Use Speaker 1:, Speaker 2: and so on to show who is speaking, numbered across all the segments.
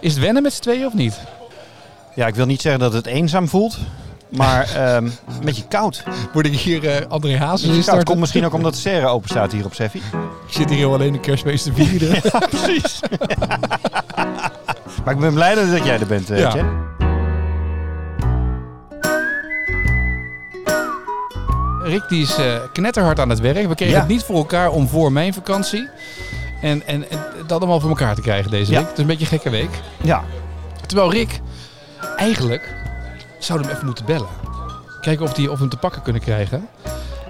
Speaker 1: Is het wennen met z'n tweeën of niet?
Speaker 2: Ja, ik wil niet zeggen dat het eenzaam voelt. Maar ehm, een beetje koud.
Speaker 1: Word ik hier eh, André Hazes
Speaker 2: Het
Speaker 1: in
Speaker 2: is koud.
Speaker 1: starten?
Speaker 2: komt misschien ook omdat de serre open staat hier op Seffi.
Speaker 1: Ik zit hier heel alleen een kerstfeest te vieren.
Speaker 2: Precies. maar ik ben blij dat jij er bent, eh,
Speaker 1: Ja.
Speaker 2: Jen.
Speaker 1: Rick die is eh, knetterhard aan het werk. We kregen
Speaker 2: Ja.
Speaker 1: het niet voor elkaar om voor mijn vakantie. En, en, en dat allemaal voor elkaar te krijgen deze
Speaker 2: Ja.
Speaker 1: week. Het is een beetje een gekke week.
Speaker 2: Ja,
Speaker 1: Terwijl Rick eigenlijk zouden we hem even moeten bellen. Kijken of, die, of we hem te pakken kunnen krijgen.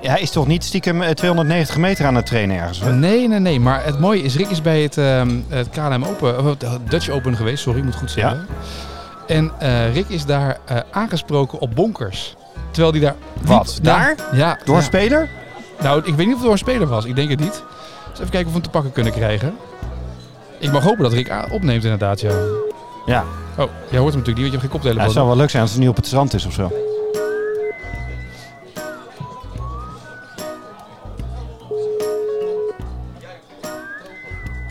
Speaker 2: hij is toch niet stiekem eh, 290 meter aan het trainen ergens? hè?
Speaker 1: Oh, Nee, nee, nee. Maar het mooie is, Rick is bij het, ehm, het KLM Open, of het Dutch Open geweest. Sorry, ik moet goed zeggen. En eh, Rick is daar eh, aangesproken op bonkers. Terwijl die daar...
Speaker 2: Wat?
Speaker 1: diep-
Speaker 2: Daar?
Speaker 1: Ja, ja.
Speaker 2: Door een
Speaker 1: ja.
Speaker 2: speler?
Speaker 1: Nou, ik weet niet of het door een speler was. Ik denk het niet. Dus even kijken of we hem te pakken kunnen krijgen. Ik mag hopen dat Rick a- opneemt inderdaad, ja.
Speaker 2: Ja.
Speaker 1: Oh, jij hoort hem natuurlijk niet, want je hebt geen
Speaker 2: Ja, het
Speaker 1: koptelefoon.
Speaker 2: zou wel leuk zijn als het nu op het strand is of zo.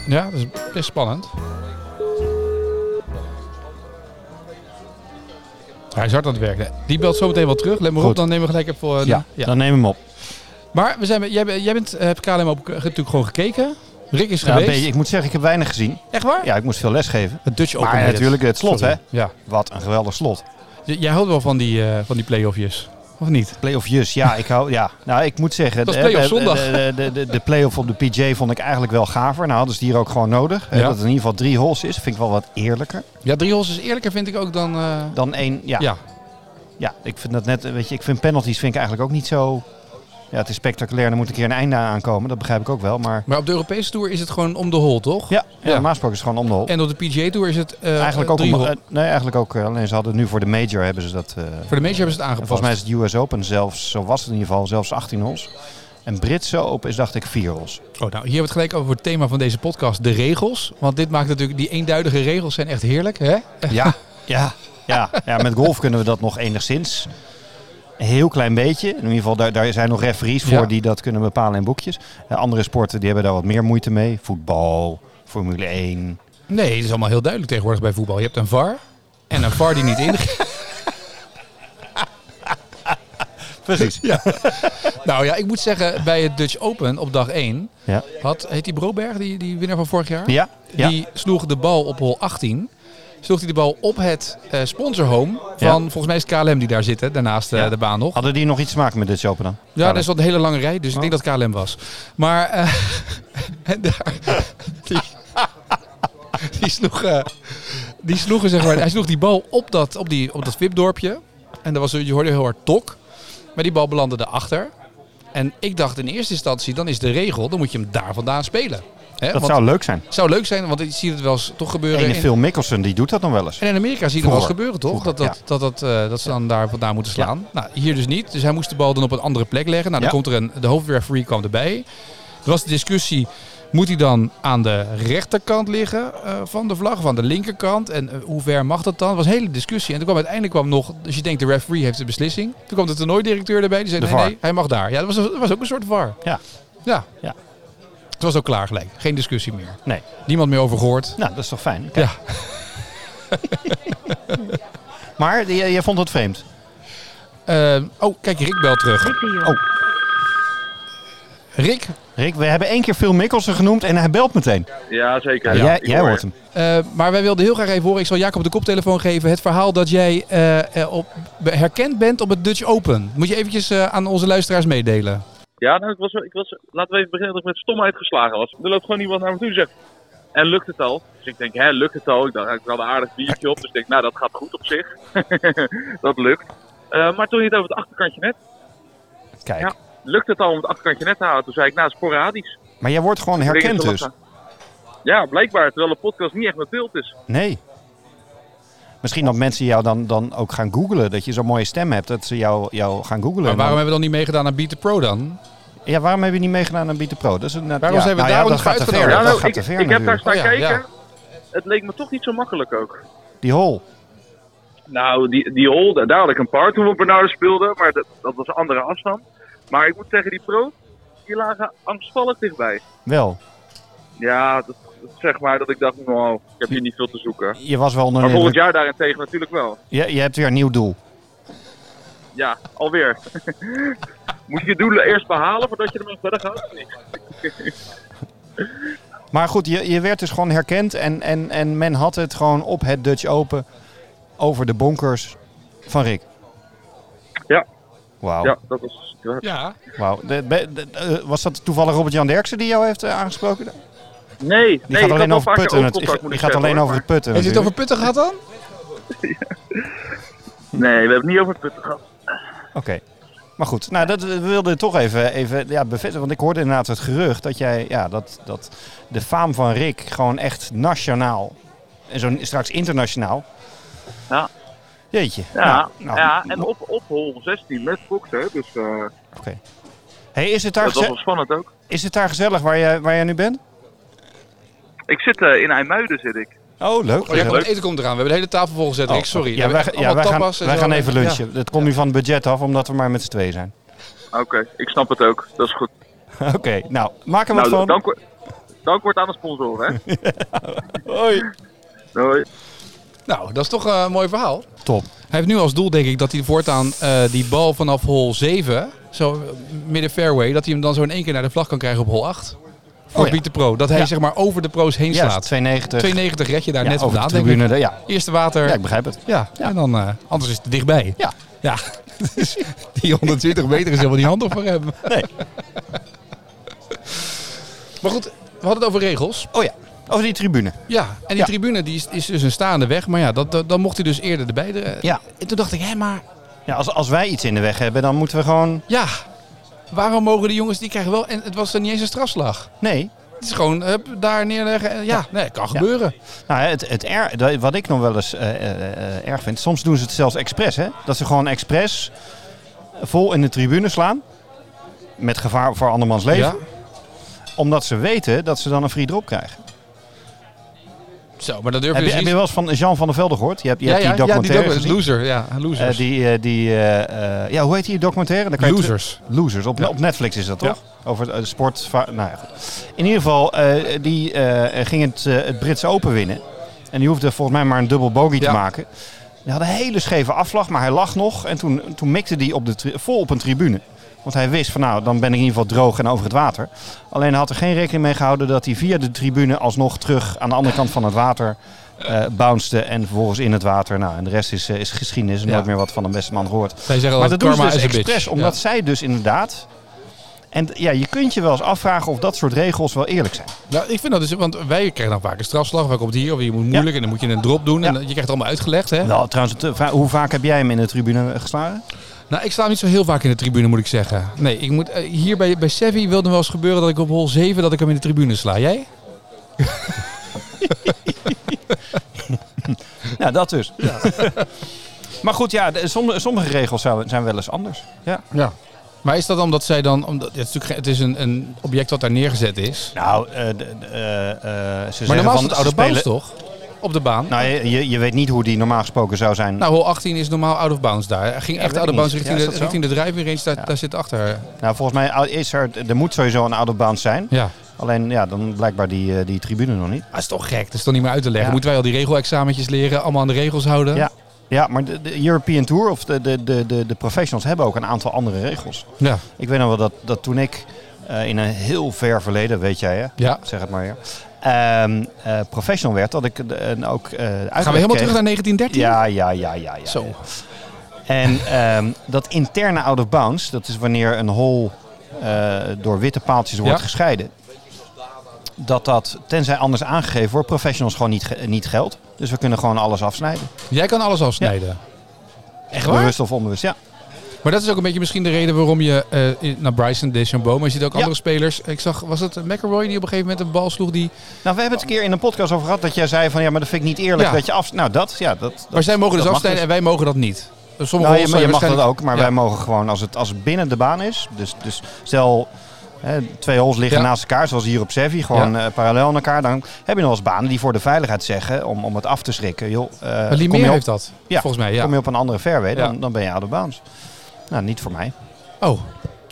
Speaker 1: Ja, dat is best spannend. Hij is hard aan het werken. Die belt zo meteen wel terug. Let maar op,
Speaker 2: Goed.
Speaker 1: dan nemen we gelijk even voor... eh,
Speaker 2: ja, dan neem hem op.
Speaker 1: Maar we zijn, bij- jij, bent- jij bent, eh, hebt KLM ook eh, natuurlijk gewoon gekeken. Rick is
Speaker 2: Ja, een
Speaker 1: geweest.
Speaker 2: beetje. ik moet zeggen, ik heb weinig gezien.
Speaker 1: Echt waar?
Speaker 2: Ja, ik moest veel lesgeven.
Speaker 1: Het Dutch Open.
Speaker 2: Maar
Speaker 1: heet het.
Speaker 2: natuurlijk het slot,
Speaker 1: Sorry.
Speaker 2: hè?
Speaker 1: Ja.
Speaker 2: Wat een geweldig slot.
Speaker 1: J- jij houdt wel van die, eh van die play-offjes, of niet?
Speaker 2: Playoff Jus, ja, ik hou, ja. Nou, ik moet zeggen,
Speaker 1: Dat is
Speaker 2: de-
Speaker 1: playoff
Speaker 2: de-
Speaker 1: zondag.
Speaker 2: De, de, de, de playoff op de PJ vond ik eigenlijk wel gaver. Nou hadden ze die hier ook gewoon nodig. Eh,
Speaker 1: Ja.
Speaker 2: Dat het in ieder geval drie holes is, vind ik wel wat eerlijker
Speaker 1: Ja, drie holes is eerlijker vind ik ook dan... eh,
Speaker 2: dan één. Ja, ja.
Speaker 1: ja.
Speaker 2: ik vind dat net, eh, weet je, ik vind penalties vind ik eigenlijk ook niet zo. Ja, het is spectaculair. Er moet een keer een einde aan komen. Dat begrijp ik ook wel. Maar
Speaker 1: Maar op de Europese Tour is het gewoon om de hole, toch?
Speaker 2: ja, ja.
Speaker 1: Ja.
Speaker 2: normaal gesproken is het gewoon om de hol.
Speaker 1: En op de PGA Tour is het eh,
Speaker 2: eigenlijk ook,
Speaker 1: drie
Speaker 2: om,
Speaker 1: hole.
Speaker 2: eh, nee, eigenlijk ook. eh, Alleen ze hadden nu voor de major hebben ze dat. eh,
Speaker 1: Voor de major hebben ze het aangepast.
Speaker 2: volgens mij is het US Open zelfs, zo was het in ieder geval, zelfs 18 holes. En Britse Open is dacht ik vier holes.
Speaker 1: Oh, nou, hier hebben we het gelijk over het thema van deze podcast, de regels. Want dit maakt natuurlijk, die eenduidige regels zijn echt heerlijk, hè?
Speaker 2: Ja, ja, ja, ja. Met golf kunnen we dat nog enigszins. Een heel klein beetje. In ieder geval, daar, daar zijn nog referees voor
Speaker 1: Ja.
Speaker 2: die dat kunnen bepalen in boekjes. Eh, andere sporten die hebben daar wat meer moeite mee. Voetbal, Formule 1.
Speaker 1: Nee, het is allemaal heel duidelijk tegenwoordig bij voetbal. Je hebt een VAR en een VAR die niet ingaat.
Speaker 2: Precies.
Speaker 1: Ja. nou ja, ik moet zeggen, bij het Dutch Open op dag 1
Speaker 2: Ja,
Speaker 1: had, heet die Broberg, die, die winnaar van vorig jaar?
Speaker 2: ja, ja.
Speaker 1: Die sloeg de bal op hol 18. Sloeg hij de bal op het eh sponsorhome van,
Speaker 2: Ja.
Speaker 1: volgens mij is KLM die daar zit, hè, daarnaast eh,
Speaker 2: Ja.
Speaker 1: de baan nog.
Speaker 2: Hadden die nog iets te maken met dit open dan?
Speaker 1: Ja, dat is wel een hele lange rij, dus ik denk
Speaker 2: Oh.
Speaker 1: dat KLM was. Maar eh, en daar, die, die sloeg, eh, die sloegen, zeg maar, hij sloeg die bal op dat, op die, op dat VIP-dorpje. En daar was, je hoorde heel hard tok, maar die bal belandde erachter. En ik dacht in eerste instantie, dan is de regel, dan moet je hem daar vandaan spelen. Hè?
Speaker 2: Dat
Speaker 1: want
Speaker 2: zou leuk zijn.
Speaker 1: het zou leuk zijn, want ik zie het wel eens toch gebeuren.
Speaker 2: Ene
Speaker 1: in-
Speaker 2: Phil Mickelson, die doet dat dan wel eens.
Speaker 1: en in Amerika zie je dat wel eens
Speaker 2: Vroeger.
Speaker 1: gebeuren, toch?
Speaker 2: Vroeger,
Speaker 1: Dat, dat, dat, dat, eh, dat ze dan daar vandaan moeten slaan. Nou, hier dus niet. Dus hij moest de bal dan op een andere plek leggen. Nou, dan
Speaker 2: Ja.
Speaker 1: komt er een, de hoofdreferee kwam erbij. Er was de discussie, moet hij dan aan de rechterkant liggen eh, van de vlag of aan de linkerkant? En eh, hoe ver mag dat dan? Het was een hele discussie. En toen kwam uiteindelijk kwam nog, dus je denkt de referee heeft de beslissing. Toen kwam de toernooidirecteur erbij, die zei
Speaker 2: De
Speaker 1: nee,
Speaker 2: VAR.
Speaker 1: nee, hij mag daar. Ja, dat was, dat was ook een soort var.
Speaker 2: Ja.
Speaker 1: Ja.
Speaker 2: Ja.
Speaker 1: Het was ook klaar gelijk. Geen discussie meer.
Speaker 2: Nee.
Speaker 1: Niemand meer over gehoord.
Speaker 2: Nou, dat is toch fijn.
Speaker 1: Ja.
Speaker 2: Maar die- jij vond het vreemd.
Speaker 1: Eh, oh, kijk, Rick belt terug.
Speaker 2: Oh,
Speaker 1: Rick,
Speaker 2: Rick, we hebben één keer Phil Mickelson genoemd en hij belt meteen.
Speaker 3: Ja, zeker.
Speaker 2: Ja,
Speaker 3: Ja,
Speaker 2: jij
Speaker 3: ik
Speaker 2: jij
Speaker 3: hoor
Speaker 2: hoort
Speaker 3: je.
Speaker 2: hem.
Speaker 1: Eh, maar wij wilden heel graag even horen, ik zal Jacob de koptelefoon geven, het verhaal dat jij eh, eh, op, be- herkend bent op het Dutch Open. Moet je eventjes eh, aan onze luisteraars meedelen.
Speaker 3: Ja, nou, ik was, ik was, laten we even beginnen dat ik met stomheid geslagen was. Er loopt gewoon iemand naar me toe en zegt, en lukt het al? Dus ik denk, hè, lukt het al? Ik dacht, ik had een aardig biertje op, dus ik denk, nou, dat gaat goed op zich. dat lukt. Eh, maar toen je het over het achterkantje net,
Speaker 2: Kijk.
Speaker 3: Ja. lukt het al om het achterkantje net te halen? Toen zei ik, nou, sporadisch.
Speaker 2: Maar jij wordt gewoon herkend
Speaker 3: Tegen de
Speaker 2: dus.
Speaker 3: lachen. Ja, blijkbaar, terwijl de podcast niet echt naar beeld is.
Speaker 2: Nee. Misschien dat mensen jou dan, dan ook gaan googlen. Dat je zo'n mooie stem hebt, dat ze jou, jou gaan googlen.
Speaker 1: Maar waarom
Speaker 2: En dan-
Speaker 1: hebben we dan niet meegedaan aan Beat the Pro dan?
Speaker 2: ja, waarom heb je niet meegedaan aan Beat the Pro? Dat is een,
Speaker 1: Waarom zijn we daar
Speaker 2: ja,
Speaker 1: niet
Speaker 2: dat gaat te
Speaker 1: voor
Speaker 2: ver.
Speaker 1: uitgenodigd?
Speaker 3: Ja,
Speaker 2: Dat
Speaker 3: nou,
Speaker 2: gaat te
Speaker 3: ik,
Speaker 2: ver
Speaker 3: ik heb daar
Speaker 2: natuurlijk.
Speaker 3: staan
Speaker 1: Oh, ja,
Speaker 3: kijken.
Speaker 1: ja.
Speaker 3: Het leek me toch niet zo makkelijk ook.
Speaker 2: Die hol.
Speaker 3: Nou, die, die hole, daar- daar had ik een paar toen we op Bernardo speelden, maar dat, dat was een andere afstand. Maar ik moet zeggen, die pro, die lagen angstvallig dichtbij.
Speaker 2: Wel.
Speaker 3: Ja, dat, dat zeg maar dat ik dacht, nou, ik heb hier niet veel te zoeken.
Speaker 2: Je was wel onder
Speaker 3: Maar
Speaker 2: de
Speaker 3: volgend
Speaker 2: indruk.
Speaker 3: jaar daarentegen natuurlijk wel.
Speaker 2: Je, je hebt weer een nieuw doel.
Speaker 3: Ja, alweer. Moet je je doelen eerst behalen voordat je ermee verder gaat?
Speaker 2: Oh.
Speaker 3: Nee.
Speaker 2: Maar goed, je, je werd dus gewoon herkend en, en, en men had het gewoon op het Dutch Open over de bonkers van Rick.
Speaker 3: Ja.
Speaker 2: Wauw.
Speaker 3: Ja, dat was...
Speaker 1: Ja,
Speaker 2: wauw. De- be- de- eh, was dat toevallig Robert-Jan Derksen die jou heeft eh, aangesproken? Die
Speaker 3: Nee, die nee,
Speaker 2: gaat
Speaker 3: ik had
Speaker 2: alleen
Speaker 3: wel
Speaker 2: over
Speaker 3: vaker
Speaker 2: putten.
Speaker 3: ook
Speaker 2: natu-
Speaker 3: contact, moet
Speaker 2: die
Speaker 3: ik
Speaker 2: gaat
Speaker 3: zeggen,
Speaker 2: alleen
Speaker 3: hoor,
Speaker 2: over het putten
Speaker 1: heeft u het
Speaker 2: natuurlijk.
Speaker 1: over putten gehad dan?
Speaker 3: maar- Nee, we hebben het niet over het putten gehad.
Speaker 2: Oké. Maar goed, nou, dat, we wilden het toch even, even ja, bevestigen. Want ik hoorde inderdaad het gerucht dat, jij, ja, dat, dat de faam van Rick gewoon echt nationaal en zo straks internationaal.
Speaker 3: Ja.
Speaker 2: Jeetje.
Speaker 3: Ja,
Speaker 2: Nou, nou,
Speaker 3: ja en
Speaker 2: mo-
Speaker 3: op, op hol 16 met Foxen, dus eh,
Speaker 2: hey, is, het daar
Speaker 3: dat was
Speaker 2: geze-
Speaker 3: wel spannend ook.
Speaker 2: is het daar gezellig waar jij, waar jij nu bent?
Speaker 3: Ik zit eh, in IJmuiden, zit ik.
Speaker 2: Oh, leuk.
Speaker 1: Oh, ja,
Speaker 2: gezellig.
Speaker 1: want het eten komt eraan. We hebben de hele tafel volgezet, Rick. Sorry.
Speaker 2: Ja, wij, ja,
Speaker 1: Allemaal
Speaker 2: wij, gaan,
Speaker 1: tapas en
Speaker 2: wij
Speaker 1: zo.
Speaker 2: gaan even
Speaker 1: Ja.
Speaker 2: lunchen. Dat komt nu van het budget af, omdat we maar met z'n twee zijn.
Speaker 3: Ah, Oké, ik snap het ook. Dat is goed.
Speaker 2: Oké, nou, maak er wat
Speaker 3: Nou,
Speaker 2: van.
Speaker 3: dank, wo- dank wordt aan de sponsor, hè.
Speaker 2: Hoi.
Speaker 3: Doei.
Speaker 1: Nou, dat is toch eh, een mooi verhaal.
Speaker 2: Top.
Speaker 1: Hij heeft nu als doel, denk ik, dat hij voortaan eh, die bal vanaf hol 7, zo eh, midden fairway, dat hij hem dan zo in één keer naar de vlag kan krijgen op hol 8. Voor
Speaker 2: Oh ja.
Speaker 1: Beat the Pro. Dat hij
Speaker 2: Ja.
Speaker 1: zeg maar over de pro's heen
Speaker 2: Ja,
Speaker 1: slaat.
Speaker 2: 290.
Speaker 1: 2,90 red je daar
Speaker 2: ja,
Speaker 1: net
Speaker 2: over de
Speaker 1: vandaan, denk ik.
Speaker 2: tribune. de- ja.
Speaker 1: Eerste water.
Speaker 2: ja,
Speaker 1: Ja,
Speaker 2: ik begrijp het.
Speaker 1: en dan eh, anders is het er dichtbij.
Speaker 2: Ja.
Speaker 1: Ja, dus die 120 meter is helemaal niet handig voor hem.
Speaker 2: Nee.
Speaker 1: Maar goed, we hadden het over regels.
Speaker 2: Oh ja, over die tribune.
Speaker 1: Ja, en die
Speaker 2: Ja.
Speaker 1: tribune die is, is dus een staande weg. Maar ja, dat, dat- dan mocht hij dus eerder erbij. De,
Speaker 2: Ja.
Speaker 1: En toen dacht ik, hé, maar
Speaker 2: Ja, als, als wij iets in de weg hebben, dan moeten we gewoon...
Speaker 1: ja, waarom mogen de jongens die krijgen wel... En het was er niet eens een strafslag.
Speaker 2: Nee.
Speaker 1: Het is gewoon hup, daar neerleggen. en Ja, nee, kan gebeuren.
Speaker 2: Nou, het, het er, wat ik nog wel eens eh, eh, eh, erg vind, soms doen ze het zelfs expres. Hè? Dat ze gewoon expres vol in de tribune slaan. Met gevaar voor andermans leven.
Speaker 1: Ja.
Speaker 2: Omdat ze weten dat ze dan een free drop krijgen.
Speaker 1: Zo, maar dat durf je
Speaker 2: Heb je,
Speaker 1: dus
Speaker 2: heb
Speaker 1: niet.
Speaker 2: je wel eens van Jean van der Velde gehoord? Je hebt, je
Speaker 1: ja,
Speaker 2: hebt
Speaker 1: ja,
Speaker 2: die documentaire
Speaker 1: ja, die docu-
Speaker 2: gezien.
Speaker 1: loser. Ja, losers.
Speaker 2: Eh, die, eh, die, eh, eh, ja, hoe heet die documentaire? Dan kan je terug-
Speaker 1: losers.
Speaker 2: Losers, op,
Speaker 1: Ja.
Speaker 2: op Netflix is dat
Speaker 1: Ja.
Speaker 2: toch? Over eh, de sport. va- Nou ja, goed. In ieder geval, eh, die eh, ging het, eh, het Britse Open winnen. En die hoefde volgens mij maar een dubbel bogey
Speaker 1: Ja.
Speaker 2: te maken. Hij had een hele scheve afslag, maar hij lag nog. En toen, toen mikte hij op de tri- vol op een tribune. Want hij wist van nou, dan ben ik in ieder geval droog en over het water. Alleen hij had er geen rekening mee gehouden dat hij via de tribune alsnog terug aan de andere kant van het water eh bounced. En vervolgens in het water. Nou, en de rest is, eh, is geschiedenis. en
Speaker 1: Ja.
Speaker 2: Nooit meer wat van de beste man gehoord.
Speaker 1: Zij zeggen
Speaker 2: Maar
Speaker 1: altijd,
Speaker 2: dat doen ze
Speaker 1: karma
Speaker 2: dus
Speaker 1: is een bitch.
Speaker 2: expres, omdat zij dus inderdaad... En ja, je kunt je wel eens afvragen of dat soort regels wel eerlijk zijn.
Speaker 1: Ja. Nou, ik vind dat dus... Want wij krijgen dan vaak een strafslag. Waar komt die hier? Of je moet moeilijk en dan moet je een drop doen. En
Speaker 2: Ja.
Speaker 1: dan- je krijgt het allemaal uitgelegd, hè?
Speaker 2: Nou, trouwens, te- vra- hoe vaak heb jij hem in de tribune eh, geslagen?
Speaker 1: Nou, ik sta hem niet zo heel vaak in de tribune, moet ik zeggen. Nee, ik moet, eh, hier bij, bij Sevi wilde wel eens gebeuren dat ik op hol 7 dat ik hem in de tribune sla. Jij?
Speaker 2: Nou, dat dus. maar goed, ja, de- sommige, sommige regels zouden- zijn wel eens anders. Ja.
Speaker 1: Ja. Maar is dat omdat zij dan... Omdat, het is, natuurlijk, geen- het is een, een object dat daar neergezet is.
Speaker 2: Nou, eh, de- de- eh, eh, ze
Speaker 1: Maar
Speaker 2: zeggen
Speaker 1: normaal is
Speaker 2: van,
Speaker 1: het
Speaker 2: ze
Speaker 1: out of bounds,
Speaker 2: spelen-
Speaker 1: toch? Op de baan. Nou,
Speaker 2: Nou, je- je, je weet niet hoe die normaal gesproken zou zijn. Nou,
Speaker 1: hol 18 is normaal out of bounds daar. Hij ging
Speaker 2: Ja,
Speaker 1: echt
Speaker 2: weet
Speaker 1: out of
Speaker 2: ik
Speaker 1: bounds
Speaker 2: niet.
Speaker 1: richting,
Speaker 2: Ja, is
Speaker 1: de,
Speaker 2: dat zo?
Speaker 1: richting de driving range. Daar,
Speaker 2: Ja.
Speaker 1: daar zit achter.
Speaker 2: Nou, volgens mij is er, er moet sowieso een out of bounds zijn.
Speaker 1: Ja.
Speaker 2: Alleen, ja, dan blijkbaar die, eh, die tribune nog niet.
Speaker 1: Dat is toch gek. Dat is toch niet meer uit te leggen.
Speaker 2: Ja.
Speaker 1: Moeten wij al die regelexamentjes leren? Allemaal aan de regels houden?
Speaker 2: Ja, ja maar de, de European Tour of de, de, de, de, de professionals hebben ook een aantal andere regels.
Speaker 1: Ja.
Speaker 2: Ik weet nog wel dat, dat toen ik eh, in een heel ver verleden, weet jij hè,
Speaker 1: ja.
Speaker 2: zeg het maar weer, ehm, eh, professional werd, dat ik de- en ook eh
Speaker 1: Gaan we helemaal terug naar 1913?
Speaker 2: Ja, ja, ja, ja. ja
Speaker 1: Zo.
Speaker 2: En ehm, dat interne out of bounds, dat is wanneer een hol eh, door witte paaltjes wordt
Speaker 1: Ja.
Speaker 2: gescheiden. Dat dat, tenzij anders aangegeven wordt, professionals gewoon niet, ge- niet geldt. Dus we kunnen gewoon alles afsnijden.
Speaker 1: Jij kan alles afsnijden. Echt waar?
Speaker 2: Bewust of onbewust, ja.
Speaker 1: Maar dat is ook een beetje misschien de reden waarom je eh, in- naar Bryson DeChambeau, maar je ziet ook
Speaker 2: Ja.
Speaker 1: andere spelers. Ik zag, was het McElroy die op een gegeven moment een bal sloeg die...
Speaker 2: Nou, we hebben het een keer in een podcast over gehad dat jij zei van ja, maar dat vind ik niet eerlijk
Speaker 1: Ja.
Speaker 2: dat je af. Nou, dat ja, dat. dat
Speaker 1: maar zij mogen dus
Speaker 2: dat mag
Speaker 1: afsnijden en wij mogen dat niet. Dus sommige
Speaker 2: Nou, je,
Speaker 1: holes
Speaker 2: maar
Speaker 1: zou
Speaker 2: je mag dat
Speaker 1: waarschijnlijk-
Speaker 2: ook, maar
Speaker 1: Ja.
Speaker 2: wij mogen gewoon als het, als het binnen de baan is. Dus, dus stel hè, twee holes liggen
Speaker 1: Ja.
Speaker 2: naast elkaar, zoals hier op Sevi, gewoon eh, parallel aan elkaar. Dan heb je nog eens banen die voor de veiligheid zeggen om, om het af te schrikken. Joh, eh,
Speaker 1: Maar
Speaker 2: kom, je
Speaker 1: Limeer
Speaker 2: op,
Speaker 1: heeft dat,
Speaker 2: Ja,
Speaker 1: volgens mij. Ja.
Speaker 2: kom je op een andere fairway,
Speaker 1: Ja.
Speaker 2: dan, dan ben je out of bounds. Nou, niet voor mij.
Speaker 1: Oh, oké.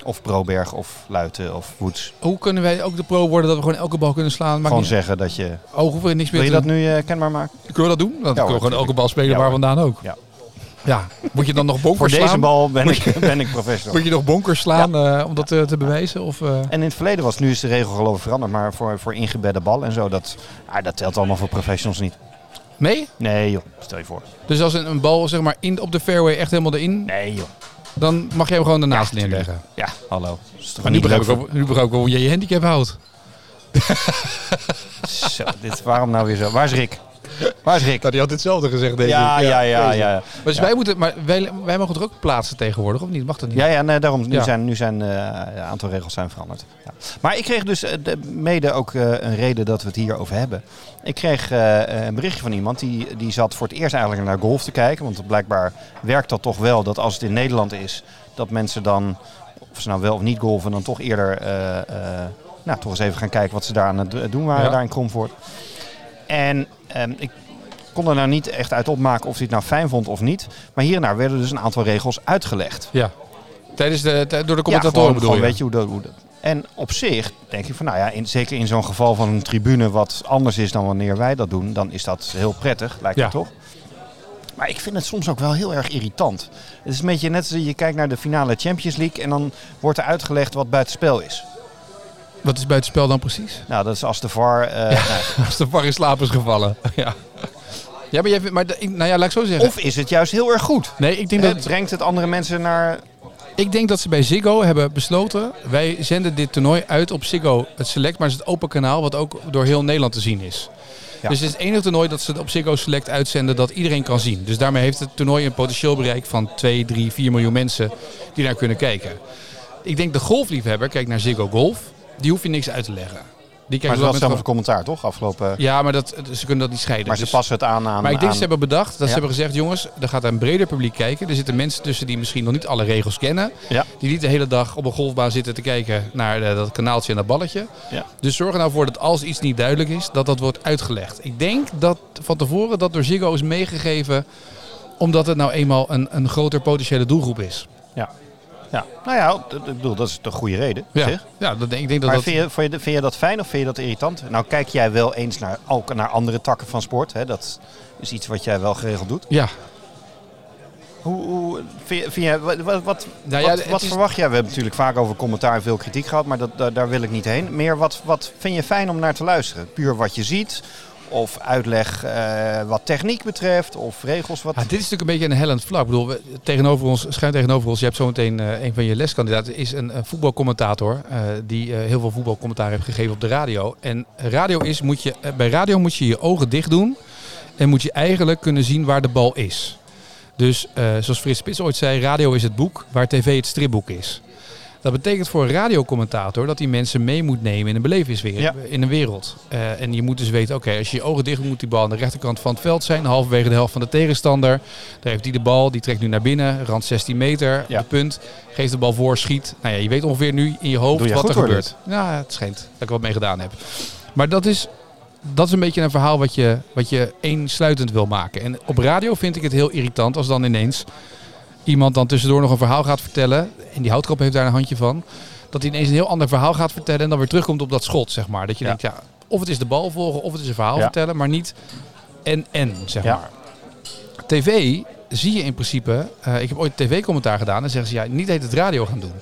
Speaker 2: Of Proberg of Luiten of Woets.
Speaker 1: Hoe kunnen wij ook de pro worden dat we gewoon elke bal kunnen slaan? Maakt
Speaker 2: Gewoon
Speaker 1: niet
Speaker 2: zeggen dat je...
Speaker 1: Oh, hoeven we niks meer
Speaker 2: Wil je
Speaker 1: te
Speaker 2: dat nu eh, kenbaar maken?
Speaker 1: doen. Kunnen we dat doen? Dan kunnen
Speaker 2: hoor,
Speaker 1: we gewoon elke
Speaker 2: tuurlijk.
Speaker 1: bal spelen
Speaker 2: Ja,
Speaker 1: waar
Speaker 2: hoor.
Speaker 1: vandaan ook.
Speaker 2: Ja.
Speaker 1: Ja. Moet je dan nog
Speaker 2: Voor
Speaker 1: bonkers
Speaker 2: deze
Speaker 1: slaan?
Speaker 2: bal ben ik, ben ik professional.
Speaker 1: Moet je nog bonkers slaan eh, om dat eh, te bewijzen? Of, eh,
Speaker 2: En in het verleden was, nu is de regel geloof ik veranderd, maar voor, voor ingebedde bal en zo, dat, ah, dat telt allemaal voor professionals niet.
Speaker 1: Nee?
Speaker 2: Nee joh, stel je voor.
Speaker 1: Dus als een, een bal zeg maar, in, op de fairway echt helemaal erin,
Speaker 2: Nee joh.
Speaker 1: dan mag jij hem gewoon ernaast
Speaker 2: Ja, tuurlijk.
Speaker 1: neerleggen.
Speaker 2: Ja, hallo. Dat is toch
Speaker 1: Maar nu
Speaker 2: niet
Speaker 1: begrijp, ik
Speaker 2: leuk
Speaker 1: ook, nu begrijp ik wel hoe jij je handicap houdt.
Speaker 2: voor- Zo, dit, waarom nou weer zo? Waar is Rick? Waar is Rick?
Speaker 1: die had hetzelfde gezegd, denk
Speaker 2: Ja, ja, ja, ja.
Speaker 1: Maar, dus Wij, moeten, maar wij, wij mogen het ook plaatsen tegenwoordig, of niet? Mag dat niet?
Speaker 2: Ja, ja nee, daarom. Nu
Speaker 1: Ja.
Speaker 2: zijn, nu zijn eh, een aantal regels zijn veranderd. Ja. Maar ik kreeg dus eh, de- mede ook eh, een reden dat we het hier over hebben. Ik kreeg eh, een berichtje van iemand die, die zat voor het eerst eigenlijk naar golf te kijken. Want blijkbaar werkt dat toch wel, dat als het in Nederland is, dat mensen dan, of ze nou wel of niet golven, dan toch eerder eh, eh, nou, toch eens even gaan kijken wat ze daar aan het do- doen waren,
Speaker 1: Ja.
Speaker 2: daar in Kromvoort. En ehm, ik kon er nou niet echt uit opmaken of hij het nou fijn vond of niet. Maar hiernaar werden dus een aantal regels uitgelegd.
Speaker 1: Ja. Tijdens de, tij- door de
Speaker 2: Ja,
Speaker 1: commentatoren
Speaker 2: gewoon,
Speaker 1: bedoel
Speaker 2: gewoon
Speaker 1: je?
Speaker 2: weet je hoe dat, hoe dat. En op zich denk ik van, nou ja, in, zeker in zo'n geval van een tribune wat anders is dan wanneer wij dat doen, dan is dat heel prettig, lijkt
Speaker 1: Ja.
Speaker 2: me toch? Maar ik vind het soms ook wel heel erg irritant. Het is een beetje net als je kijkt naar de finale Champions League en dan wordt er uitgelegd wat buitenspel is.
Speaker 1: Wat is buitenspel dan precies?
Speaker 2: Nou, dat is als de VAR... eh, nou,
Speaker 1: Als de var in slaap is gevallen. ja. Ja, maar, jij, vindt- maar de- ik- nou ja, laat ik zo zeggen.
Speaker 2: of Eh, is het juist heel erg goed?
Speaker 1: nee, ik denk,
Speaker 2: Het
Speaker 1: dat,
Speaker 2: brengt het andere mensen naar...
Speaker 1: ik denk dat ze bij Ziggo hebben besloten... wij zenden dit toernooi uit op Ziggo het Select... maar het is het open kanaal wat ook door heel Nederland te zien is.
Speaker 2: Ja.
Speaker 1: Dus het is het enige toernooi dat ze het op Ziggo Select uitzenden... dat iedereen kan zien. Dus daarmee heeft het toernooi een potentieel bereik van 2, 3, 4 miljoen mensen... die naar kunnen kijken. Ik denk de golfliefhebber kijkt naar Ziggo Golf... die hoef je niks uit te leggen. Die
Speaker 2: Maar
Speaker 1: kijkt
Speaker 2: dat was
Speaker 1: wel
Speaker 2: dan voor
Speaker 1: met...
Speaker 2: commentaar, toch? Afgelopen...
Speaker 1: Ja, maar dat, eh, ze kunnen dat niet scheiden.
Speaker 2: maar ze
Speaker 1: Dus-
Speaker 2: passen het aan aan...
Speaker 1: maar ik denk dat ze
Speaker 2: aan-
Speaker 1: hebben bedacht, dat
Speaker 2: Ja.
Speaker 1: ze hebben gezegd, jongens, er gaat een breder publiek kijken. Er zitten mensen tussen die misschien nog niet alle regels kennen.
Speaker 2: Ja.
Speaker 1: Die niet de hele dag op een golfbaan zitten te kijken naar eh, dat kanaaltje en dat balletje.
Speaker 2: Ja.
Speaker 1: Dus zorg er nou voor dat als iets niet duidelijk is, dat dat wordt uitgelegd. Ik denk dat van tevoren dat door Ziggo is meegegeven, omdat het nou eenmaal een, een groter potentiële doelgroep is.
Speaker 2: Ja. ja. Nou ja, d- d- ik bedoel, dat is de goede reden.
Speaker 1: Ja,
Speaker 2: Zeg.
Speaker 1: ja dat denk, ik denk dat
Speaker 2: Maar
Speaker 1: dat...
Speaker 2: vind, je, vind, je, vind je dat fijn of vind je dat irritant? Nou, kijk jij wel eens naar, ook naar andere takken van sport. Hè? Dat is iets wat jij wel geregeld doet.
Speaker 1: Ja,
Speaker 2: Hoe, hoe vind, je- vind jij, wat, wat, wat,
Speaker 1: Nou ja,
Speaker 2: wat-
Speaker 1: het
Speaker 2: wat
Speaker 1: is-
Speaker 2: verwacht jij? We hebben natuurlijk vaak over commentaar en veel kritiek gehad, maar dat, daar, daar wil ik niet heen. Meer wat, wat vind je fijn om naar te luisteren? Puur wat je ziet of uitleg eh, wat techniek betreft of regels. Wat...
Speaker 1: Ja, dit is natuurlijk een beetje een hellend vlak. Ik bedoel, we- tegenover ons, schuin tegenover ons, je hebt zometeen eh een van je leskandidaten, is een, eh, voetbalcommentator eh, die eh, heel veel voetbalcommentaar heeft gegeven op de radio. En radio is, moet je, eh, bij radio moet je je ogen dicht doen en moet je eigenlijk kunnen zien waar de bal is. Dus eh, zoals Frits Spits ooit zei, radio is het boek waar tv het stripboek is. Dat betekent voor een radiocommentator dat hij mensen mee moet nemen in een belevingswereld.
Speaker 2: Ja.
Speaker 1: In een wereld. Eh, en je moet dus weten, oké, als je je ogen dicht doet, moet die bal aan de rechterkant van het veld zijn. Halverwege de helft van de tegenstander. Daar heeft hij de bal, die trekt nu naar binnen. Rand 16 meter,
Speaker 2: Ja.
Speaker 1: de punt. Geeft de bal voor, schiet. Nou ja, je weet ongeveer nu in je
Speaker 2: Doe
Speaker 1: hoofd
Speaker 2: je
Speaker 1: wat
Speaker 2: goed,
Speaker 1: er
Speaker 2: hoor,
Speaker 1: gebeurt. Ja, het schijnt dat ik er wat mee gedaan heb. Maar dat is, dat is een beetje een verhaal wat je, wat je eensluitend wil maken. En op radio vind ik het heel irritant als dan ineens iemand dan tussendoor nog een verhaal gaat vertellen. En die houtkop heeft daar een handje van. Dat hij ineens een heel ander verhaal gaat vertellen en dan weer terugkomt op dat schot, zeg maar. Dat je
Speaker 2: Ja.
Speaker 1: denkt, ja, of het is de bal volgen of het is een verhaal
Speaker 2: Ja.
Speaker 1: vertellen, maar niet en en, zeg
Speaker 2: Ja.
Speaker 1: maar. TV zie je in principe, eh, ik heb ooit tv-commentaar gedaan en zeggen ze, ja, niet heet het radio gaan doen.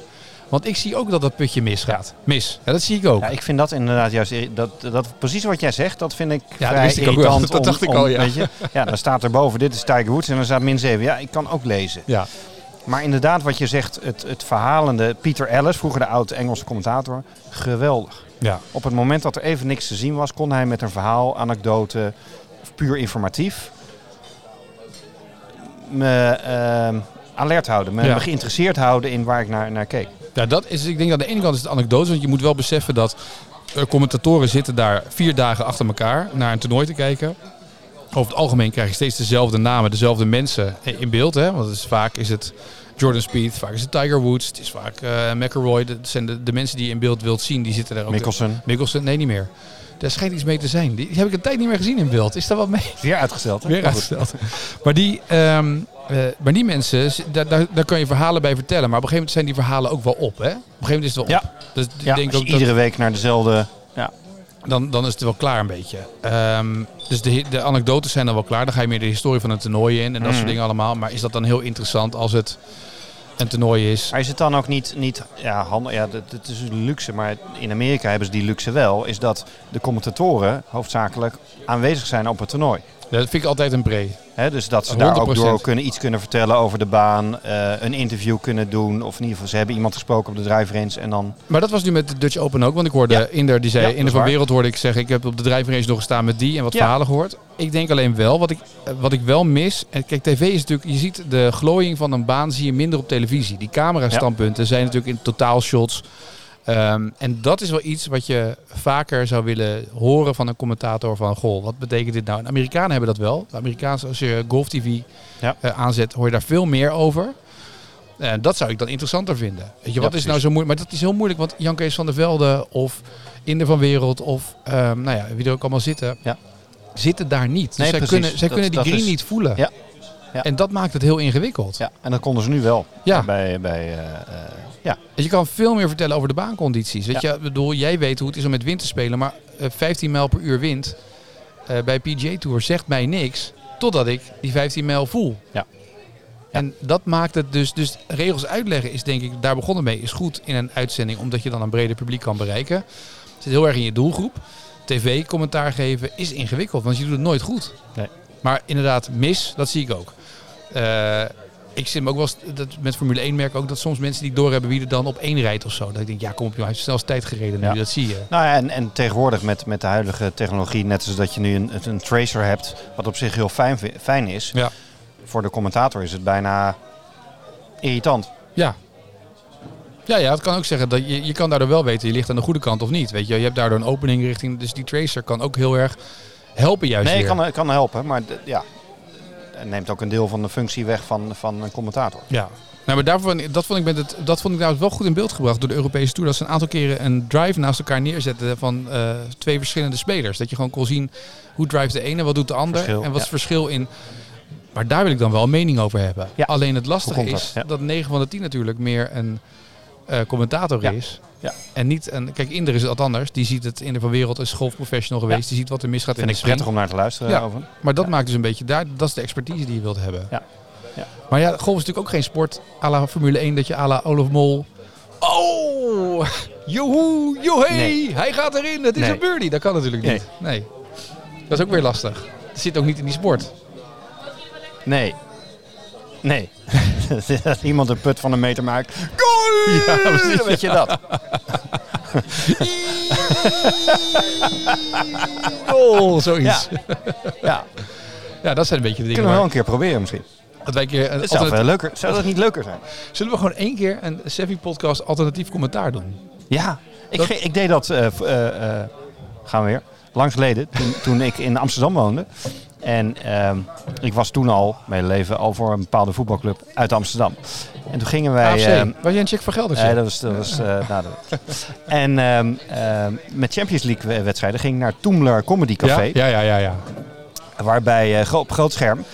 Speaker 1: Want ik zie ook dat dat putje misgaat. Mis. Ja, dat zie ik ook.
Speaker 2: Ja, ik vind dat inderdaad juist... irri- Dat, dat, precies wat jij zegt, dat vind ik
Speaker 1: dat
Speaker 2: vrij
Speaker 1: wist ik ook wel.
Speaker 2: irritant.
Speaker 1: Dat
Speaker 2: om-
Speaker 1: dacht ik
Speaker 2: om,
Speaker 1: al, ja.
Speaker 2: Weet je? ja, dan staat er boven, dit is Tiger Woods en dan staat min 7. Ja, ik kan ook lezen.
Speaker 1: Ja.
Speaker 2: Maar inderdaad, wat je zegt, het, het verhalende... Pieter Ellis, vroeger de oud-Engelse commentator, geweldig.
Speaker 1: ja.
Speaker 2: Op het moment dat er even niks te zien was, kon hij met een verhaal, anekdote... of puur informatief... me ehm, alert houden, me,
Speaker 1: Ja.
Speaker 2: me geïnteresseerd houden in waar ik naar, naar keek.
Speaker 1: Ja, dat is, ik denk aan de ene kant is het anekdote, want je moet wel beseffen dat eh, commentatoren zitten daar vier dagen achter elkaar naar een toernooi te kijken. Over het algemeen krijg je steeds dezelfde namen, dezelfde mensen in beeld. Hè? Want het is, vaak is het Jordan Speed, vaak is het Tiger Woods, het is vaak eh McElroy. Dat zijn de, de mensen die je in beeld wilt zien, die zitten daar ook.
Speaker 2: Mikkelsen.
Speaker 1: Mikkelsen, nee niet meer. Daar schijnt iets mee te zijn. Die, die heb ik een tijd niet meer gezien in beeld. Is daar wat mee?
Speaker 2: Weer uitgesteld. hè?
Speaker 1: Weer
Speaker 2: Maar goed.
Speaker 1: uitgesteld. Maar die, ehm, eh, maar die mensen, z- daar, daar, daar kan je verhalen bij vertellen. Maar op een gegeven moment zijn die verhalen ook wel op. Hè? Op een gegeven moment is het wel
Speaker 2: Ja.
Speaker 1: op. Dus ik
Speaker 2: Ja,
Speaker 1: denk
Speaker 2: als
Speaker 1: ook
Speaker 2: je
Speaker 1: dat-
Speaker 2: iedere week naar dezelfde... Ja,
Speaker 1: dan, dan is het wel klaar een beetje. Ehm, dus de, de anekdotes zijn dan wel klaar. Dan ga je meer de historie van het toernooi in en dat
Speaker 2: Mm.
Speaker 1: soort dingen allemaal. Maar is dat dan heel interessant als het een toernooi is?
Speaker 2: Maar is het dan ook niet, niet ja, handel, ja, dat, dat is een luxe, maar in Amerika hebben ze die luxe wel, is dat de commentatoren hoofdzakelijk aanwezig zijn op het toernooi.
Speaker 1: Dat vind ik altijd een pre.
Speaker 2: Hè, dus dat ze daar
Speaker 1: 100%.
Speaker 2: ook door kunnen, iets kunnen vertellen over de baan, eh, een interview kunnen doen, of in ieder geval ze hebben iemand gesproken op de drive range en dan...
Speaker 1: Maar dat was nu met de Dutch Open ook. Want ik hoorde
Speaker 2: Ja.
Speaker 1: Inder die zei,
Speaker 2: Ja, dat
Speaker 1: Inder
Speaker 2: is
Speaker 1: van
Speaker 2: waar.
Speaker 1: Wereld hoorde ik zeggen... ik heb op de drijving eens nog gestaan met die en wat
Speaker 2: Ja.
Speaker 1: verhalen gehoord. Ik denk alleen wel, wat ik, eh, wat ik wel mis... En kijk, tv is natuurlijk... Je ziet de glooiing van een baan zie je minder op televisie. Die camerastandpunten zijn natuurlijk in totaalshots. Ehm, en dat is wel iets wat je vaker zou willen horen van een commentator van... Goh, wat betekent dit nou? En Amerikanen hebben dat wel. De Amerikaanse, als je Golf TV
Speaker 2: Ja.
Speaker 1: eh, aanzet, hoor je daar veel meer over. En dat zou ik dan interessanter vinden. Weet je, wat is
Speaker 2: precies.
Speaker 1: nou zo moeilijk? Maar dat is heel moeilijk, want Jan Kees van der Velde of Inder van Wereld of ehm, nou ja, wie er ook allemaal zitten,
Speaker 2: Ja.
Speaker 1: zitten daar niet. Dus
Speaker 2: Nee,
Speaker 1: zij,
Speaker 2: precies.
Speaker 1: kunnen, zij
Speaker 2: Dat-
Speaker 1: kunnen die
Speaker 2: dat
Speaker 1: green
Speaker 2: is-
Speaker 1: niet voelen.
Speaker 2: Ja. Ja.
Speaker 1: En dat maakt het heel ingewikkeld.
Speaker 2: Ja, en dat konden ze nu wel.
Speaker 1: Ja.
Speaker 2: Bij, bij, eh, eh, ja.
Speaker 1: Dus je kan veel meer vertellen over de baancondities. Weet je, ik bedoel, jij weet hoe het is om met wind te spelen, maar eh, 15 mijl per uur wind eh, bij PGA Tour zegt mij niks, totdat ik die 15 mijl voel.
Speaker 2: Ja.
Speaker 1: En dat maakt het dus, dus regels uitleggen is denk ik, daar begonnen mee, is goed in een uitzending, omdat je dan een breder publiek kan bereiken. Het zit heel erg in je doelgroep. TV-commentaar geven is ingewikkeld, want je doet het nooit goed.
Speaker 2: Nee.
Speaker 1: Maar inderdaad, mis, dat zie ik ook. Eh, ik zit me ook wel eens, dat met Formule 1 merk ik ook dat soms mensen die doorhebben wie er dan op één rijdt of zo. Dat ik denk, ja kom op joh, hij heeft snelst tijd gereden nu,
Speaker 2: Ja.
Speaker 1: dat zie je.
Speaker 2: Nou ja, en, en tegenwoordig met, met de huidige technologie, net als dat je nu een, een tracer hebt, wat op zich heel fijn, vi- fijn is,
Speaker 1: Ja.
Speaker 2: voor de commentator is het bijna irritant.
Speaker 1: Ja. Ja, ja, het kan ook zeggen dat je, je kan daardoor wel weten, je ligt aan de goede kant of niet. Weet je, je hebt daardoor een opening richting, dus die tracer kan ook heel erg helpen juist
Speaker 2: Nee,
Speaker 1: weer.
Speaker 2: kan, kan helpen, maar d- ja, het neemt ook een deel van de functie weg van, van een commentator.
Speaker 1: Ja. Nou, maar daarvan, dat, vond ik met het, dat vond ik nou wel goed in beeld gebracht door de Europese Tour. Dat ze een aantal keren een drive naast elkaar neerzetten van eh, twee verschillende spelers. Dat je gewoon kon zien hoe drive de ene, wat doet de ander
Speaker 2: Verschil,
Speaker 1: en wat is
Speaker 2: ja.
Speaker 1: het verschil in... Maar daar wil ik dan wel een mening over hebben.
Speaker 2: Ja.
Speaker 1: Alleen het lastige
Speaker 2: Hoe komt
Speaker 1: is
Speaker 2: dat?
Speaker 1: dat 9 van de 10 natuurlijk meer een eh, commentator
Speaker 2: Ja.
Speaker 1: is.
Speaker 2: Ja.
Speaker 1: En niet een... Kijk, Inder is wat anders. Die ziet het in de van wereld is golfprofessional geweest. Die ziet wat er misgaat in
Speaker 2: Vind
Speaker 1: de
Speaker 2: ik prettig
Speaker 1: spring.
Speaker 2: om naar te luisteren
Speaker 1: Ja.
Speaker 2: over.
Speaker 1: Maar dat
Speaker 2: Ja.
Speaker 1: maakt dus een beetje daar, dat is de expertise die je wilt hebben.
Speaker 2: Ja. Ja.
Speaker 1: Maar ja, golf is natuurlijk ook geen sport à la Formule 1 dat je à la Olaf Mol. Oh, joehoe, johee,
Speaker 2: Nee.
Speaker 1: hij gaat erin, het is
Speaker 2: Nee.
Speaker 1: een birdie. Dat kan natuurlijk niet. Nee. Dat is ook weer lastig. Het zit ook niet in die sport.
Speaker 2: Nee. Nee. Dat Iemand een put van een meter maakt.
Speaker 1: Goal!
Speaker 2: Ja, precies. Weet je dat?
Speaker 1: Goal, Oh, zoiets. Ja.
Speaker 2: Ja.
Speaker 1: dat zijn een beetje de dingen.
Speaker 2: Kunnen we wel
Speaker 1: waar-
Speaker 2: een keer proberen misschien.
Speaker 1: dat wij een keer een
Speaker 2: Het zou,
Speaker 1: alternatief-
Speaker 2: wel leuker, zou dat niet leuker zijn?
Speaker 1: Zullen we gewoon één keer een Sevi podcast alternatief commentaar doen?
Speaker 2: Ja. Ik,
Speaker 1: Dat-
Speaker 2: ge- ik deed dat... eh, v- eh, eh, gaan we weer. Lang geleden. Toen, toen ik in Amsterdam woonde. En ehm, ik was toen al, mijn leven, al voor een bepaalde voetbalclub uit Amsterdam. En toen gingen wij...
Speaker 1: AFC.
Speaker 2: ehm,
Speaker 1: was jij een check van Gelderse?
Speaker 2: Nee, dat was... Dat was eh, nou, dat- en ehm, ehm, met Champions League eh, wedstrijden ging ik naar Toemler Comedy Café.
Speaker 1: Ja, ja, ja, ja.
Speaker 2: Waarbij eh, gro- op groot scherm.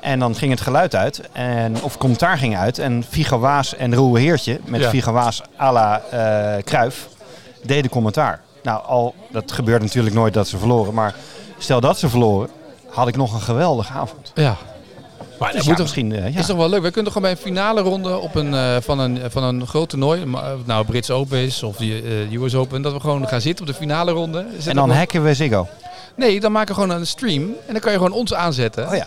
Speaker 2: En dan ging het geluid uit. En, of commentaar ging uit. En Figo Waas en Roel Heertje. Met
Speaker 1: Ja.
Speaker 2: Figo Waas à la eh Kruif. Deden commentaar. Nou, al, dat gebeurt natuurlijk nooit dat ze verloren. Maar stel dat ze verloren. Had ik nog een geweldige avond.
Speaker 1: ja. Maar
Speaker 2: Dus
Speaker 1: dat
Speaker 2: ja,
Speaker 1: moet toch,
Speaker 2: misschien. eh, ja.
Speaker 1: is toch wel leuk? We kunnen toch gewoon bij een finale ronde op een, eh, van, een, van een groot toernooi, maar, eh, nou Brits Open is of de eh, US Open, dat we gewoon gaan zitten op de finale ronde. Zet
Speaker 2: En dan
Speaker 1: ook-
Speaker 2: hacken we Ziggo.
Speaker 1: Nee, dan maken we gewoon een stream en dan kan je gewoon ons aanzetten.
Speaker 2: Oh ja.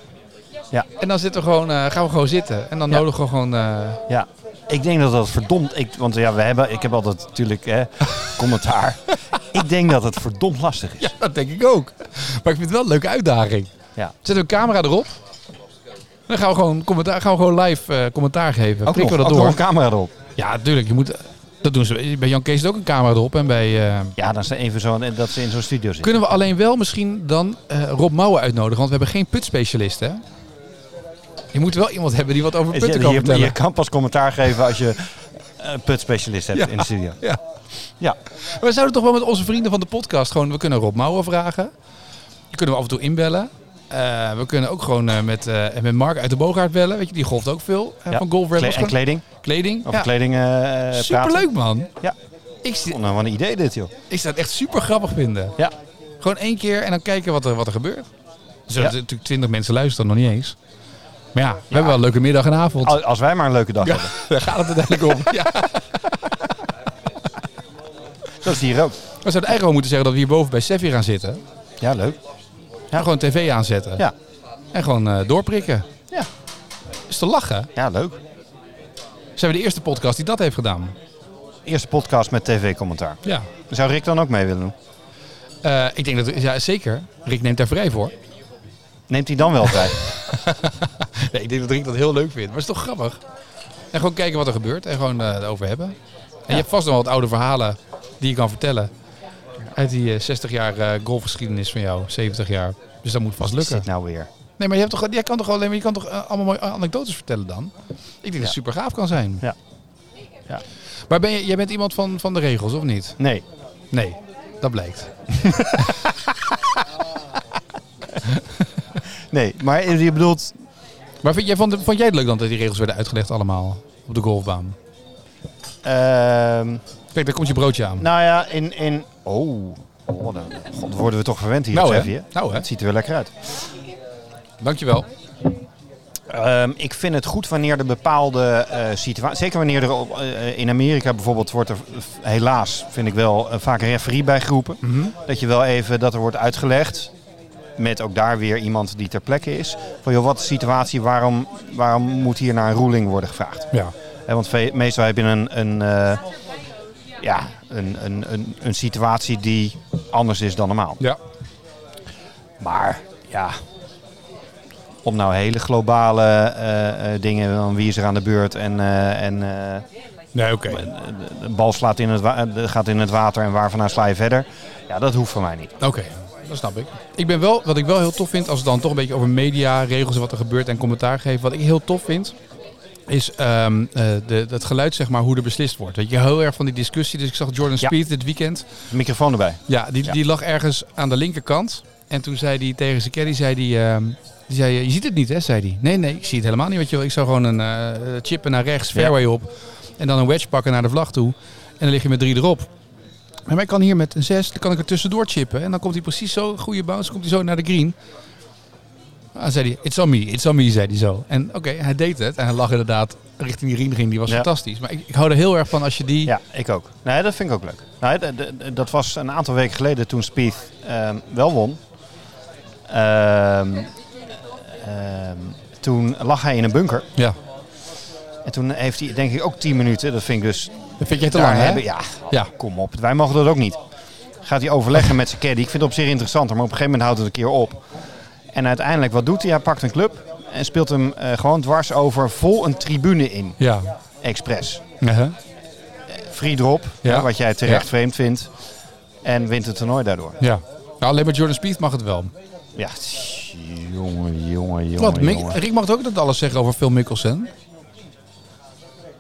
Speaker 1: En dan zitten we gewoon, eh, gaan we gewoon zitten en dan
Speaker 2: Ja.
Speaker 1: nodigen we gewoon... eh,
Speaker 2: Ja, ik denk dat dat verdomd. Ik, want ja, we hebben, ik heb altijd natuurlijk hè, commentaar. ik denk dat het verdomd lastig is.
Speaker 1: ja, dat denk ik ook. Maar ik vind het wel een leuke uitdaging.
Speaker 2: Ja.
Speaker 1: Zetten we een camera erop, dan gaan we gewoon, commentaar, gaan we gewoon live eh, commentaar geven.
Speaker 2: Ook nog,
Speaker 1: Prikken we
Speaker 2: ook
Speaker 1: dat
Speaker 2: nog
Speaker 1: door.
Speaker 2: een camera erop.
Speaker 1: Ja, natuurlijk. Je moet, dat doen ze. Bij Jan Kees zit ook een camera erop. En bij, eh,
Speaker 2: Ja, dan is er even zo dat ze in zo'n studio zitten.
Speaker 1: kunnen we alleen wel misschien dan eh, Rob Mouwen uitnodigen? Want we hebben geen putspecialist, hè? Je moet wel iemand hebben die wat over
Speaker 2: Je,
Speaker 1: punten kan
Speaker 2: je,
Speaker 1: vertellen.
Speaker 2: je kan pas commentaar geven als je een putspecialist hebt
Speaker 1: Ja.
Speaker 2: in de studio.
Speaker 1: Ja.
Speaker 2: Ja,
Speaker 1: Maar we zouden toch wel met onze vrienden van de podcast gewoon... We kunnen Rob Mouwen vragen. Je kunnen we af en toe inbellen. Eh, we kunnen ook gewoon eh, met, eh, met Mark uit de Boogaard bellen. Weet je, die golft ook veel eh,
Speaker 2: ja.
Speaker 1: van Golf
Speaker 2: Kle-
Speaker 1: Rebels.
Speaker 2: en
Speaker 1: Gewoon
Speaker 2: kleding.
Speaker 1: kleding.
Speaker 2: Over
Speaker 1: Ja.
Speaker 2: kleding eh praten.
Speaker 1: Superleuk, man.
Speaker 2: Ja.
Speaker 1: Ik, zie-
Speaker 2: Oh, nou, wat een idee dit, joh.
Speaker 1: ik zou het echt super grappig vinden.
Speaker 2: Ja.
Speaker 1: Gewoon één keer en dan kijken wat er, wat er gebeurt. Er zullen
Speaker 2: Ja.
Speaker 1: natuurlijk twintig mensen luisteren, nog niet eens. Maar ja, we hebben wel een leuke middag en avond.
Speaker 2: Al- Als wij maar een leuke dag
Speaker 1: Ja,
Speaker 2: hebben.
Speaker 1: daar gaat het uiteindelijk om. Ja.
Speaker 2: Dat is hier ook.
Speaker 1: We zouden eigenlijk wel moeten zeggen dat we hierboven bij Seffi gaan zitten.
Speaker 2: Ja, leuk.
Speaker 1: En gewoon tv aanzetten.
Speaker 2: Ja.
Speaker 1: En gewoon eh, doorprikken.
Speaker 2: Ja.
Speaker 1: Is te lachen.
Speaker 2: Ja, leuk.
Speaker 1: Zijn we de eerste podcast die dat heeft gedaan?
Speaker 2: Eerste podcast met tv-commentaar.
Speaker 1: Ja.
Speaker 2: Zou Rick dan ook mee willen doen?
Speaker 1: Eh, ik denk dat, ja zeker, Rick neemt daar vrij voor.
Speaker 2: Neemt hij dan wel vrij?
Speaker 1: Nee, ik denk dat Rick dat heel leuk vindt. Maar het is toch grappig? En gewoon kijken wat er gebeurt en gewoon eh, erover hebben. En je hebt vast nog wat oude verhalen die je kan vertellen. Uit die eh, 60 jaar eh, golfgeschiedenis van jou, 70 jaar. Dus dat moet vast
Speaker 2: Is
Speaker 1: lukken.
Speaker 2: dit nou weer?
Speaker 1: Nee, maar je, hebt toch, jij kan toch alleen maar, je kan toch eh, allemaal mooie anekdotes vertellen dan? Ik denk dat het super gaaf kan zijn.
Speaker 2: Ja. Ja.
Speaker 1: Maar ben je, jij bent iemand van, van de regels, of niet?
Speaker 2: Nee.
Speaker 1: Nee, dat blijkt.
Speaker 2: Nee, maar je bedoelt...
Speaker 1: Maar vind jij, vond, vond jij het leuk dan dat die regels werden uitgelegd allemaal op de golfbaan?
Speaker 2: ehm,
Speaker 1: Kijk, daar komt je broodje aan.
Speaker 2: nou ja, in... in oh, oh, dan God, worden we toch verwend hier
Speaker 1: Nou,
Speaker 2: op
Speaker 1: hè?
Speaker 2: Sevier.
Speaker 1: Nou, hè?
Speaker 2: Het ziet er wel lekker uit.
Speaker 1: Dankjewel.
Speaker 2: Ehm, ik vind het goed wanneer er bepaalde situaties... Zeker wanneer er op, eh, in Amerika bijvoorbeeld wordt er... eh, Helaas vind ik wel eh, vaak een referee bij groepen. Dat je wel even dat er wordt uitgelegd. Met ook daar weer iemand die ter plekke is. Van joh, wat is de situatie? Waarom, waarom moet hier naar een ruling worden gevraagd?
Speaker 1: Ja.
Speaker 2: Hè, want ve- meestal heb je een, een, eh, ja, een, een, een, een situatie die anders is dan normaal.
Speaker 1: Ja.
Speaker 2: Maar ja, om nou hele globale eh, eh, dingen, van wie is er aan de beurt en, eh, en eh,
Speaker 1: Nee, oké.
Speaker 2: de- de bal slaat in het wa- eh, gaat in het water en waar vandaan sla je verder. Ja, dat hoeft voor mij niet.
Speaker 1: Oké, dat snap ik. Ik ben wel, wat ik wel heel tof vind, als het dan toch een beetje over media, regels en wat er gebeurt en commentaar geven. Wat ik heel tof vind, is ehm, eh, de, het geluid, zeg maar, hoe er beslist wordt. Weet je, heel erg van die discussie. Dus ik zag Jordan
Speaker 2: Ja.
Speaker 1: Speed dit weekend.
Speaker 2: Microfoon erbij.
Speaker 1: Ja, die,
Speaker 2: Ja.
Speaker 1: die lag ergens aan de linkerkant. En toen zei hij tegen zijn caddy, zei die, ehm, die zei, eh, je ziet het niet hè, zei hij. Nee, nee, ik zie het helemaal niet wat je wil. Ik zou gewoon een eh, eh, chippen naar rechts, fairway op. En dan een wedge pakken naar de vlag toe. En dan lig je met drie erop. Maar mij kan hier met een zes, dan kan ik er tussendoor chippen. En dan komt hij precies zo, goede bounce, komt hij zo naar de green. En dan zei hij, it's on me, it's on me, zei hij zo. En oké, hij deed het. En hij lag inderdaad richting die green ging. Die was
Speaker 2: Ja.
Speaker 1: fantastisch. Maar ik, ik hou er heel erg van als je die...
Speaker 2: Ja, ik ook. Nee, dat vind ik ook leuk. Nee, d- d- d- dat was een aantal weken geleden toen Speed ehm, wel won. Ehm, ehm, toen lag hij in een bunker.
Speaker 1: Ja.
Speaker 2: En toen heeft hij denk ik ook 10 minuten. Dat vind ik dus...
Speaker 1: Dat vind jij te
Speaker 2: daar
Speaker 1: lang, hè?
Speaker 2: hebben- Ja,
Speaker 1: Ja.
Speaker 2: kom op. Wij mogen dat ook niet. Gaat hij overleggen met zijn caddy. Ik vind het op zich interessanter, maar op een gegeven moment houdt het een keer op. En uiteindelijk, wat doet hij? Hij pakt een club en speelt hem eh, gewoon dwars over vol een tribune in.
Speaker 1: Ja.
Speaker 2: Expres.
Speaker 1: Uh-huh.
Speaker 2: Free drop,
Speaker 1: Ja.
Speaker 2: hè, wat jij terecht
Speaker 1: Ja.
Speaker 2: vreemd vindt. En wint het toernooi daardoor.
Speaker 1: Ja. Nou, alleen maar Jordan Spieth mag het wel.
Speaker 2: Ja, tss, jongen, jongen, jongen.
Speaker 1: Wat, Mick-
Speaker 2: jongen.
Speaker 1: Rick mag ook dat alles zeggen over Phil Mickelson.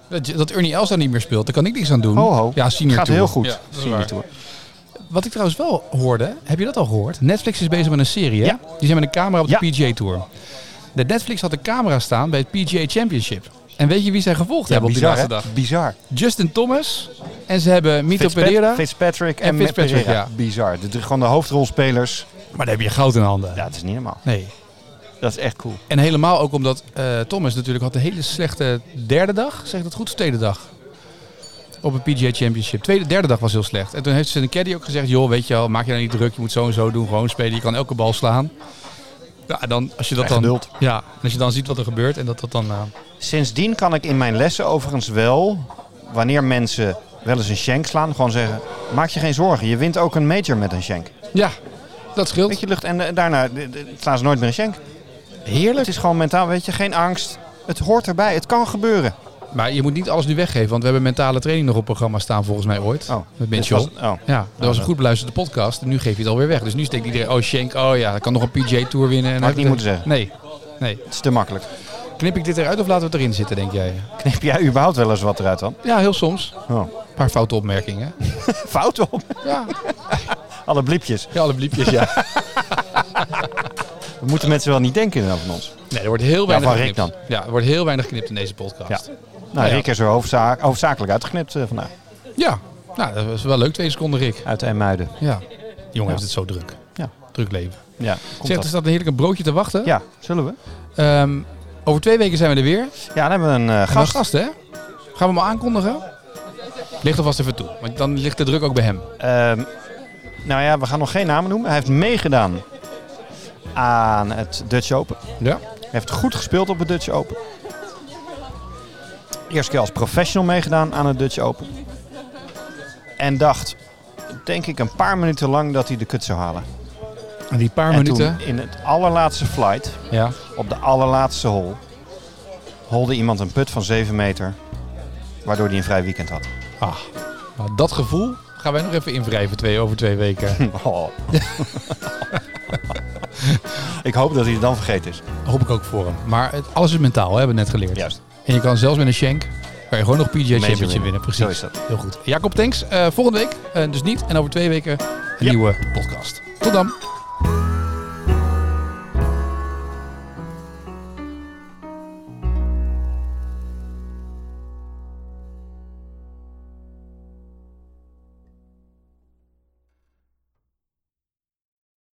Speaker 1: Dat, je- dat Ernie Els daar niet meer speelt, daar kan ik niks aan doen.
Speaker 2: Ho, ho.
Speaker 1: Ja, senior
Speaker 2: Gaat
Speaker 1: tour.
Speaker 2: heel goed.
Speaker 1: Ja, dat is
Speaker 2: Senior
Speaker 1: waar.
Speaker 2: tour.
Speaker 1: Wat ik trouwens wel hoorde, heb je dat al gehoord? Netflix is bezig met een serie, hè?
Speaker 2: Ja.
Speaker 1: Die zijn met een camera op de
Speaker 2: Ja.
Speaker 1: PGA Tour. De Netflix had een camera staan bij het PGA Championship. En weet je wie zij gevolgd
Speaker 2: Ja,
Speaker 1: hebben op die
Speaker 2: bizar,
Speaker 1: laatste
Speaker 2: hè?
Speaker 1: dag?
Speaker 2: Bizar.
Speaker 1: Justin Thomas en ze hebben Mito
Speaker 2: Fitzpat-
Speaker 1: Pereira.
Speaker 2: Fitzpatrick en,
Speaker 1: En Fitzpatrick,
Speaker 2: Matt Pereira.
Speaker 1: ja.
Speaker 2: Bizar. De, drie- gewoon de hoofdrolspelers.
Speaker 1: Maar daar heb je goud in handen.
Speaker 2: Ja, dat is niet normaal.
Speaker 1: Nee.
Speaker 2: Dat is echt cool.
Speaker 1: En helemaal ook omdat eh, Thomas natuurlijk had een hele slechte derde dag. Zeg ik dat goed? Of tweede dag? Op een PGA Championship. Tweede, derde dag was heel slecht. En toen heeft zijn caddy ook gezegd... joh, weet je wel, maak je nou niet druk. Je moet zo en zo doen. Gewoon spelen. Je kan elke bal slaan. Ja, en dan, als je dat
Speaker 2: En
Speaker 1: dan,
Speaker 2: geduld.
Speaker 1: ja, en als je dan ziet wat er gebeurt en dat dat dan... eh,
Speaker 2: Sindsdien kan ik in mijn lessen overigens wel, wanneer mensen wel eens een shank slaan, gewoon zeggen: Maak je geen zorgen, je wint ook een major met een shank.
Speaker 1: ja, dat scheelt.
Speaker 2: Weet je lucht en eh, daarna eh, eh, slaan ze nooit meer een shank.
Speaker 1: Heerlijk.
Speaker 2: Het is gewoon mentaal, weet je, geen angst. Het hoort erbij, het kan gebeuren.
Speaker 1: Maar je moet niet alles nu weggeven. Want we hebben mentale training nog op programma staan volgens mij ooit.
Speaker 2: Oh,
Speaker 1: met
Speaker 2: dit
Speaker 1: Mitchell.
Speaker 2: was- oh.
Speaker 1: Ja, dat was een goed beluisterde podcast. En nu geef je het alweer weg. Dus nu steekt iedereen, oh Shank, oh ja, ik kan nog een PJ Tour winnen. En
Speaker 2: Had ik niet
Speaker 1: dan-
Speaker 2: moeten zeggen.
Speaker 1: Nee, nee.
Speaker 2: Het is te makkelijk.
Speaker 1: Knip ik dit eruit of laten we het erin zitten, denk jij?
Speaker 2: Knip jij überhaupt wel eens wat eruit dan?
Speaker 1: Ja, heel soms.
Speaker 2: Oh.
Speaker 1: Een paar foute opmerkingen.
Speaker 2: Fout op.
Speaker 1: Ja,
Speaker 2: Alle bliepjes.
Speaker 1: ja alle bliepjes, ja.
Speaker 2: Dat moeten mensen wel niet denken dan van ons.
Speaker 1: Nee, er wordt heel weinig
Speaker 2: van Rick
Speaker 1: geknipt. Ja, er wordt heel weinig geknipt in deze podcast.
Speaker 2: Ja. Nou,
Speaker 1: Nou ja.
Speaker 2: Rick is er hoofdza- hoofdzakelijk uitgeknipt eh, vandaag.
Speaker 1: Ja, Nou, dat was wel leuk, twee seconden, Rick.
Speaker 2: Uit IJmuiden.
Speaker 1: Ja. Die jongen heeft het zo druk.
Speaker 2: Ja.
Speaker 1: Druk leven.
Speaker 2: Ja, komt
Speaker 1: Zegt, er
Speaker 2: dat.
Speaker 1: staat een heerlijk een broodje te wachten.
Speaker 2: Ja, zullen we?
Speaker 1: Ehm, over twee weken zijn we er weer.
Speaker 2: Ja, dan hebben we een eh,
Speaker 1: Gast.
Speaker 2: gast.
Speaker 1: gast, hè? Gaan we hem al aankondigen? Ligt alvast even toe, want dan ligt de druk ook bij hem.
Speaker 2: Ehm, nou ja, we gaan nog geen namen noemen. Hij heeft meegedaan aan het Dutch Open.
Speaker 1: Ja.
Speaker 2: Hij heeft goed gespeeld op het Dutch Open. Eerste keer als professional meegedaan aan het Dutch Open. En dacht, denk ik, een paar minuten lang dat hij de kut zou halen.
Speaker 1: En die paar
Speaker 2: en
Speaker 1: minuten.
Speaker 2: toen in het allerlaatste flight,
Speaker 1: Ja.
Speaker 2: op de allerlaatste hole, holde iemand een put van 7 meter. Waardoor hij een vrij weekend had.
Speaker 1: Ah, nou, dat gevoel gaan wij nog even invrijven twee over twee weken.
Speaker 2: Oh. ik hoop dat hij het dan vergeten is.
Speaker 1: Hoop ik ook voor hem. Maar het, alles is mentaal, hè, hebben we net geleerd.
Speaker 2: Juist.
Speaker 1: En je kan zelfs met een shank, kan je gewoon nog PGA Championship
Speaker 2: winnen.
Speaker 1: winnen. Precies.
Speaker 2: Zo is dat.
Speaker 1: Heel goed. Jacob, thanks. Eh, volgende week eh, dus niet. En over twee weken een
Speaker 2: Ja.
Speaker 1: nieuwe podcast. Tot dan.